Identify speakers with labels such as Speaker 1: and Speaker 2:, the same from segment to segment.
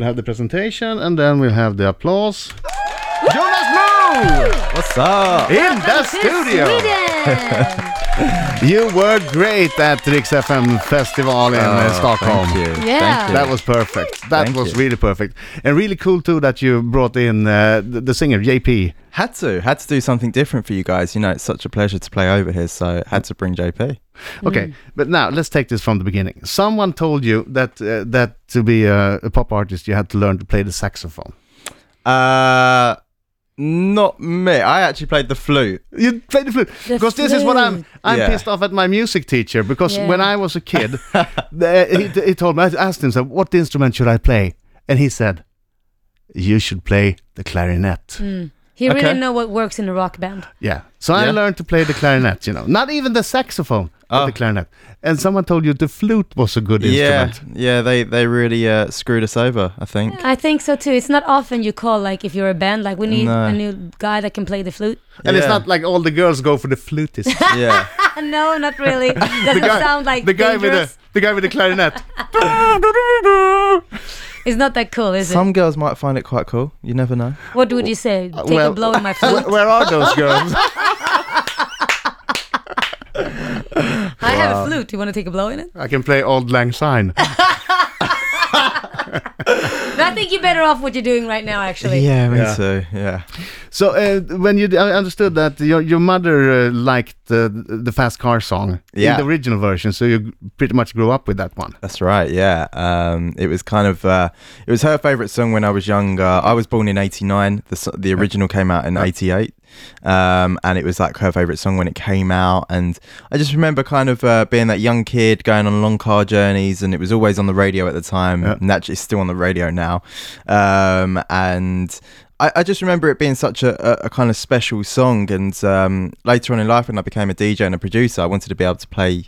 Speaker 1: We'll have the presentation and then we'll have the applause.
Speaker 2: Jonas Mo
Speaker 3: What's up?
Speaker 1: In the studio!
Speaker 4: Sweden!
Speaker 1: You were great at Rix FM Festival in uh, Stockholm.
Speaker 3: Oh, Thank you.
Speaker 4: Yeah.
Speaker 3: Thank you.
Speaker 1: That was perfect. That
Speaker 3: Thank
Speaker 1: was
Speaker 3: you.
Speaker 1: really perfect. And really cool too that you brought in uh, the, the singer, JP.
Speaker 3: had to. Had to do something different for you guys. You know, it's such a pleasure to play over here, so had to bring JP.
Speaker 1: Okay, but now let's take this from the beginning. Someone told you that uh, that to be a, a pop artist you had to learn to play the saxophone.
Speaker 3: Uh, not me. I actually played the flute.
Speaker 1: You play the flute
Speaker 4: The
Speaker 1: because this is what I'm. I'm
Speaker 3: Yeah.
Speaker 1: pissed off at my music teacher because
Speaker 4: Yeah.
Speaker 1: when I was a kid, the, he, he told me. I asked him, so "What instrument should I play?" And he said, "You should play the clarinet."
Speaker 4: Hmm. He really
Speaker 3: Okay.
Speaker 4: know what works in a rock band.
Speaker 1: Yeah. So I
Speaker 3: Yeah.
Speaker 1: learned to play the clarinet. You know, not even the saxophone, but
Speaker 3: Oh.
Speaker 1: the clarinet. And someone told you the flute was a good
Speaker 3: yeah,
Speaker 1: instrument.
Speaker 3: yeah. They they really uh, screwed us over. I think.
Speaker 4: I think so too. It's not often you call like if you're a band like we need
Speaker 3: No.
Speaker 4: a new guy that can play the flute.
Speaker 1: And it's
Speaker 3: Yeah.
Speaker 1: not like all the girls go for the flutist.
Speaker 3: yeah.
Speaker 4: no, not really. Doesn't sound like
Speaker 1: the guy with the
Speaker 4: dangerous.
Speaker 1: the guy with the clarinet.
Speaker 4: It's not that cool, is
Speaker 3: Some girls might find it quite cool. You never know.
Speaker 4: it? What would you say? Take
Speaker 1: well-
Speaker 4: a blow in my
Speaker 1: where,
Speaker 4: flute.
Speaker 1: where are those girls?
Speaker 4: I have a flute. You want to take a blow in it?
Speaker 1: I can play Old Lang Syne.
Speaker 4: But I think you're better off what you're doing right now, actually.
Speaker 3: Yeah, me
Speaker 1: Yeah.
Speaker 3: too. Yeah.
Speaker 1: So uh, when you I understood that your your mother uh, liked uh, the fast car song
Speaker 3: Yeah.
Speaker 1: in the original version, so you pretty much grew up with that one.
Speaker 3: That's right. Yeah, um, it was kind of uh, it was her favorite song when I was younger. I was born in '89. The s- the original came out in '88, um, and it was like her favorite song when it came out. And I just remember kind of uh, being that young kid going on long car journeys, and it was always on the radio at the time.
Speaker 1: Yeah.
Speaker 3: And actually, it's still on the radio now. Um, and I, I just remember it being such a, a, a kind of special song. And um, later on in life, when I became a DJ and a producer, I wanted to be able to play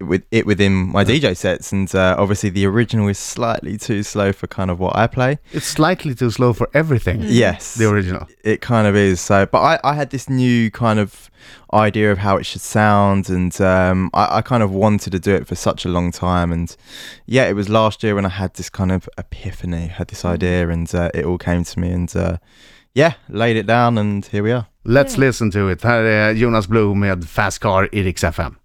Speaker 3: with it within my DJ sets, and uh, obviously the original is slightly too slow for kind of what I play.
Speaker 1: It's slightly too slow for everything.
Speaker 3: Mm. Yes,
Speaker 1: Mm-hmm. The original.
Speaker 3: it kind of is. So, but I, I had this new kind of idea of how it should sound, and um, I, I kind of wanted to do it for such a long time. And yeah, it was last year when I had this kind of epiphany, had this idea, and uh, it all came to me, and uh, yeah, laid it down, and here we are.
Speaker 1: Let's listen to it. Här är Jonas Blue med Fast Car i Rix FM.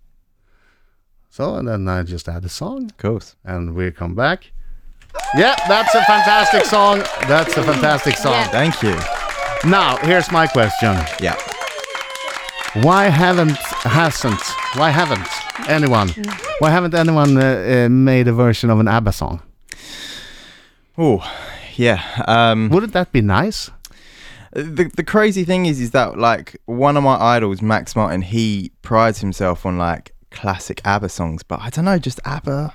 Speaker 1: So and then I just add a song.
Speaker 3: Of course.
Speaker 1: and we come back. Yeah, that's a fantastic song. That's a fantastic song.
Speaker 4: Yeah.
Speaker 3: Thank you.
Speaker 1: Now, here's my question.
Speaker 3: Yeah.
Speaker 1: Why haven't hasn't why haven't anyone why haven't anyone uh, uh, made a version of an ABBA song?
Speaker 3: Oh, yeah. Um,
Speaker 1: Wouldn't that be nice?
Speaker 3: the the crazy thing is is that like one of my idols max martin he prides himself on like classic abba songs but i don't know just abba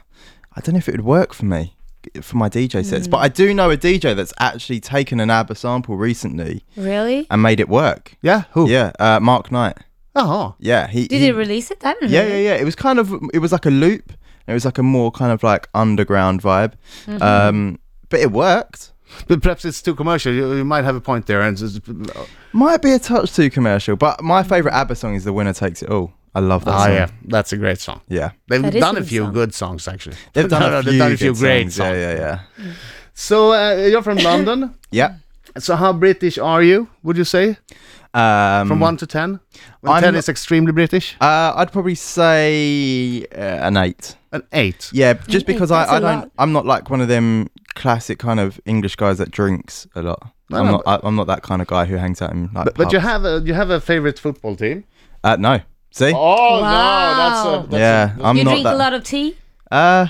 Speaker 3: i don't know if it would work for me for my dj sets
Speaker 4: Hmm.
Speaker 3: but i do know a dj that's actually taken an abba sample recently
Speaker 4: Really?
Speaker 3: and made it work
Speaker 1: Yeah, who?
Speaker 3: yeah uh, mark knight
Speaker 1: Oh,
Speaker 3: yeah he
Speaker 4: Did
Speaker 3: he,
Speaker 4: he release it? I don't know.
Speaker 3: yeah yeah yeah it was kind of it was like a loop it was like a more kind of like underground vibe
Speaker 4: Mm-hmm.
Speaker 3: um but it worked
Speaker 1: but perhaps it's too commercial. You, you might have a point there. And just,
Speaker 3: Ah, Might be a touch too commercial, but my
Speaker 4: Hmm.
Speaker 3: favourite ABBA song is The Winner Takes It All. I love that
Speaker 1: ah,
Speaker 3: song.
Speaker 1: yeah, that's a great song.
Speaker 3: Yeah.
Speaker 1: They've
Speaker 4: That is
Speaker 1: done
Speaker 4: a
Speaker 1: a
Speaker 4: good
Speaker 1: few
Speaker 4: song.
Speaker 1: good songs actually.
Speaker 3: They've done,
Speaker 1: No, no,
Speaker 3: a, few
Speaker 1: they've done a few
Speaker 3: good
Speaker 1: great
Speaker 3: songs.
Speaker 1: songs.
Speaker 3: Yeah, yeah, yeah.
Speaker 1: So uh, you're from London.
Speaker 3: Yeah.
Speaker 1: So how British are you? Would you say
Speaker 3: Um,
Speaker 1: from one to ten? When
Speaker 3: I'm-
Speaker 1: ten is extremely British,
Speaker 3: Uh, I'd probably say uh, an eight.
Speaker 1: an eight.
Speaker 3: Yeah, just because
Speaker 4: that's
Speaker 3: I,
Speaker 4: a
Speaker 3: I
Speaker 4: lot.
Speaker 3: don't, I'm not like one of them classic kind of English guys that drinks a lot.
Speaker 1: No,
Speaker 3: I'm
Speaker 1: no,
Speaker 3: not. I, I'm not that kind of guy who hangs out in like.
Speaker 1: But, but you
Speaker 3: pubs.
Speaker 1: have a you have a favorite football team?
Speaker 3: Uh, no. See.
Speaker 1: Oh
Speaker 4: Wow.
Speaker 1: that's
Speaker 3: yeah, i I'm
Speaker 4: you
Speaker 3: not
Speaker 4: drink
Speaker 3: that.
Speaker 4: a lot of tea?
Speaker 3: Uh,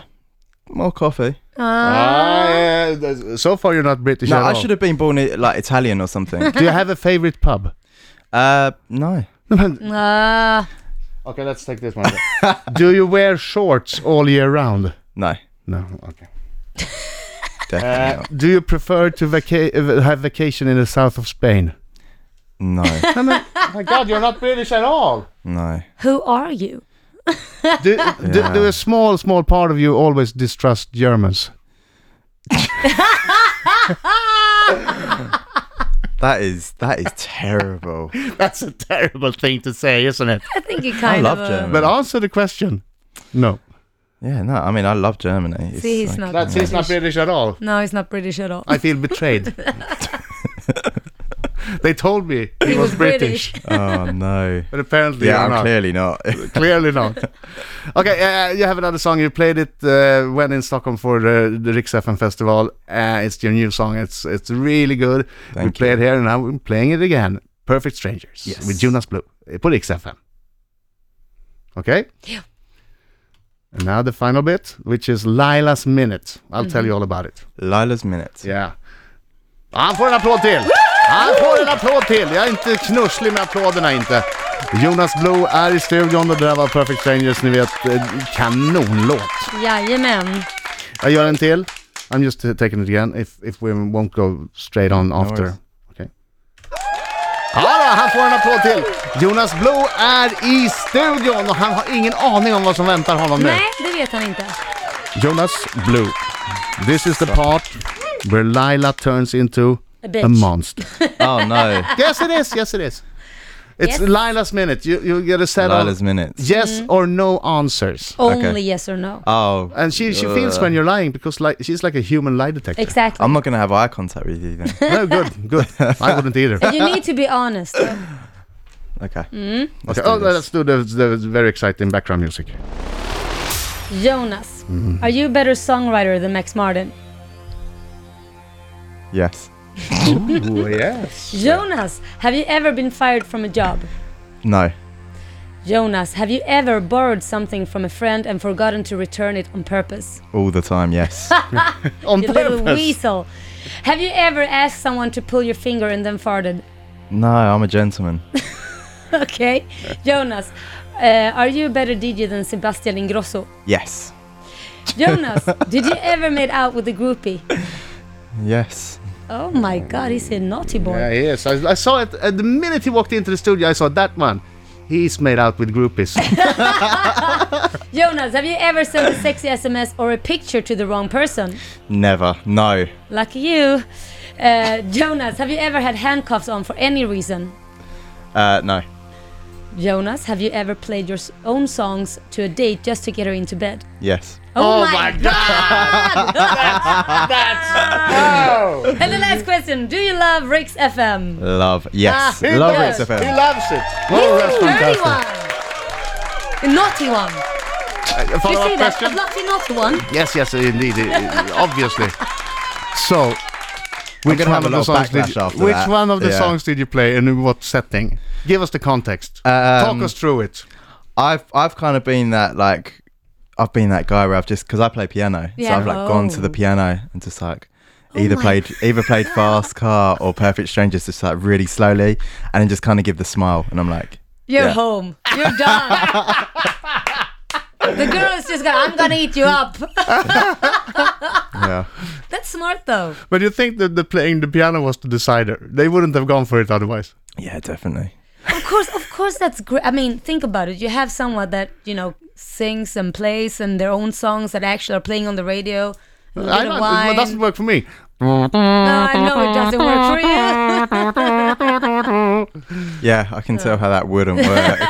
Speaker 3: more coffee.
Speaker 1: Ah, yeah, that's- so far you're not British
Speaker 3: No,
Speaker 1: at
Speaker 3: I
Speaker 1: all.
Speaker 3: should have been born i- like Italian or something.
Speaker 1: Do you have a favorite pub?
Speaker 3: uh, no.
Speaker 4: Uh,
Speaker 1: Okay, let's take this one. Do you wear shorts all year round?
Speaker 3: No.
Speaker 1: No. Okay. Uh,
Speaker 3: Definitely not.
Speaker 1: Do you prefer to vaca- uh, have vacation in the south of Spain?
Speaker 3: No,
Speaker 1: No, no. Oh, my God, you're not British at all.
Speaker 3: no.
Speaker 4: who are you?
Speaker 1: Do, do, do a small, small part of you always distrust Germans?
Speaker 3: That is that is terrible.
Speaker 1: That's a terrible thing to say, isn't it?
Speaker 4: I think you kind
Speaker 3: love
Speaker 4: of. uh,
Speaker 3: German.
Speaker 1: But answer the question. No.
Speaker 3: Yeah, no, I mean, I love Germany. It's
Speaker 4: See, he's
Speaker 3: like-
Speaker 4: not.
Speaker 1: That's he's not British at all.
Speaker 4: No, he's not British at all.
Speaker 1: I feel betrayed. they told me he, was, British,
Speaker 3: Oh no.
Speaker 1: but apparently
Speaker 3: yeah,
Speaker 1: I'm
Speaker 3: I'm
Speaker 1: not.
Speaker 3: clearly not.
Speaker 1: Clearly not. Okay, uh, you have another song. You played it uh, when in Stockholm for the, the Rix FM Festival. Uh, it's your new song. It's it's really good. we
Speaker 3: Thank
Speaker 1: play it here, and now we're playing it again. Perfect Strangers
Speaker 3: Yes.
Speaker 1: with Jonas Blue. Uh, På Rix FM. Okay?
Speaker 4: Yeah.
Speaker 1: And now the final bit, which is Lila's Minute. I'll tell you all about it.
Speaker 3: Lila's minute.
Speaker 1: Yeah. Han får en applåd till! Han får en applåd till! Jag är inte knusslig med applåderna inte. Jonas Blue är i studion och det där var Perfect Strangers, ni vet, eh, kanonlåt.
Speaker 4: Jajamän.
Speaker 1: Jag gör en till. I'm just uh, taking it again if, if we won't go straight on after.
Speaker 3: worries.
Speaker 1: Okej. Ja då, han får en applåd till! Jonas Blue är i studion och han har ingen aning om vad som väntar honom nu.
Speaker 4: Nej, det vet han inte.
Speaker 1: Jonas Blue, this is the part where Lila turns into
Speaker 4: A
Speaker 1: a
Speaker 4: bitch.
Speaker 1: monster.
Speaker 3: Oh no.
Speaker 1: yes, it is. Yes, it is. It's
Speaker 4: Yes. Mm-hmm.
Speaker 1: Lila's minute. You you get a set
Speaker 3: Lila's
Speaker 1: of
Speaker 3: minute.
Speaker 1: yes or no answers,
Speaker 4: Only
Speaker 3: Okay.
Speaker 4: yes or
Speaker 1: Ah.
Speaker 4: no.
Speaker 3: Oh.
Speaker 1: and she she feels
Speaker 3: Ugh.
Speaker 1: when you're lying because like she's like a human lie detector.
Speaker 4: Exactly.
Speaker 3: I'm not gonna have eye contact with you then.
Speaker 1: no, good, good. I wouldn't either.
Speaker 4: you need to be honest.
Speaker 3: Okay. Let's
Speaker 1: Okay.
Speaker 3: do
Speaker 1: Oh,
Speaker 3: this.
Speaker 1: let's do the, the very exciting background music.
Speaker 4: Jonas,
Speaker 1: Mm.
Speaker 4: are you a better songwriter than Max Martin?
Speaker 3: Yes.
Speaker 1: Ooh, yes.
Speaker 4: Jonas, have you ever been fired from a job?
Speaker 3: No.
Speaker 4: Jonas, have you ever borrowed something from a friend and forgotten to return it on purpose?
Speaker 3: All the time. Yes.
Speaker 1: On
Speaker 4: You little
Speaker 1: purpose.
Speaker 4: weasel. Have you ever asked someone to pull your finger and then farted?
Speaker 3: no, I'm a gentleman.
Speaker 4: Okay. Jonas, uh, are you a better DJ than Sebastian Ingrosso?
Speaker 3: Yes.
Speaker 4: Jonas, did you ever made out with a groupie?
Speaker 3: Yes.
Speaker 4: Oh my god, he's a naughty boy.
Speaker 1: Yeah, he is. I, I saw it uh, the minute he walked into the studio. I saw that one. He's made out with groupies.
Speaker 4: Oh Jonas, have you ever sent a sexy SMS or a picture to the wrong person?
Speaker 3: Never. No.
Speaker 4: Lucky you. Uh, Jonas, have you ever had handcuffs on for any reason?
Speaker 3: Uh, no.
Speaker 4: Jonas, have you ever played your s- own songs to a date just to get her into bed?
Speaker 3: Yes.
Speaker 1: Oh my
Speaker 4: god! and the last question Do you love Rix FM?
Speaker 3: Love. Yes.
Speaker 4: Ah,
Speaker 3: Love
Speaker 4: yes.
Speaker 3: Rix
Speaker 1: He
Speaker 3: FM.
Speaker 1: loves it.
Speaker 4: He's
Speaker 1: Oh,
Speaker 4: a
Speaker 1: that's
Speaker 4: dirty
Speaker 1: fantastic.
Speaker 4: one! A naughty one!
Speaker 1: Uh,
Speaker 4: You
Speaker 1: Follow-up
Speaker 4: see that?
Speaker 1: question.
Speaker 4: A naughty, naughty one?
Speaker 1: Yes, yes, indeed, i- obviously. So,
Speaker 3: We're
Speaker 1: which
Speaker 3: gonna have
Speaker 1: one
Speaker 3: a
Speaker 1: of the
Speaker 3: lot
Speaker 1: songs
Speaker 3: of backlash
Speaker 1: did
Speaker 3: after
Speaker 1: you, which
Speaker 3: that.
Speaker 1: one of the
Speaker 3: Yeah.
Speaker 1: songs did you play and in what setting? Give us the context. Talk
Speaker 3: Um,
Speaker 1: us through it.
Speaker 3: I've I've kind of been that like I've been that guy where I've just because I play piano, so
Speaker 4: Yeah.
Speaker 3: I've like gone to the
Speaker 4: Oh.
Speaker 3: piano and just like either
Speaker 4: my
Speaker 3: played either played Fast Car or Perfect Strangers, just like really slowly, and then just kind of give the smile, and I'm like,
Speaker 4: You're
Speaker 3: Yeah.
Speaker 4: home. You're done. the girl is just gonna, I'm gonna eat you up.
Speaker 3: yeah,
Speaker 4: That's smart though.
Speaker 1: But you think that the playing the piano was the decider? They wouldn't have gone for it otherwise.
Speaker 3: yeah, definitely.
Speaker 4: Of course, of course, that's great. I mean, think about it. You have someone that you know sings and plays and their own songs that actually are playing on the radio. A little
Speaker 1: I
Speaker 4: bit of
Speaker 1: don't,
Speaker 4: wine.
Speaker 1: it doesn't work for me.
Speaker 4: No, I know it doesn't work for you.
Speaker 3: Yeah, I can tell how that wouldn't work.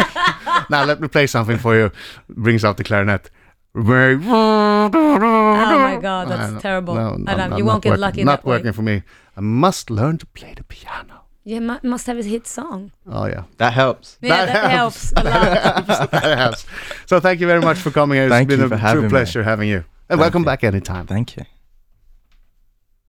Speaker 1: now let me play something for you. Brings out the clarinet. Very-
Speaker 4: oh my god, that's
Speaker 1: No,
Speaker 4: terrible.
Speaker 1: no, no,
Speaker 4: I don't,
Speaker 1: no,
Speaker 4: you
Speaker 1: not
Speaker 4: won't get
Speaker 1: working,
Speaker 4: lucky in
Speaker 1: Not
Speaker 4: that
Speaker 1: working
Speaker 4: way.
Speaker 1: for me. I must learn to play the piano.
Speaker 4: You mu- must have a hit song.
Speaker 1: Oh yeah.
Speaker 3: that helps.
Speaker 4: Yeah, that, helps. a lot.
Speaker 1: Yes. So thank you very much for coming. It's
Speaker 3: Thank
Speaker 1: been
Speaker 3: you
Speaker 1: a
Speaker 3: for
Speaker 1: true
Speaker 3: having me.
Speaker 1: pleasure having you. And welcome
Speaker 3: you.
Speaker 1: back anytime.
Speaker 3: Thank you.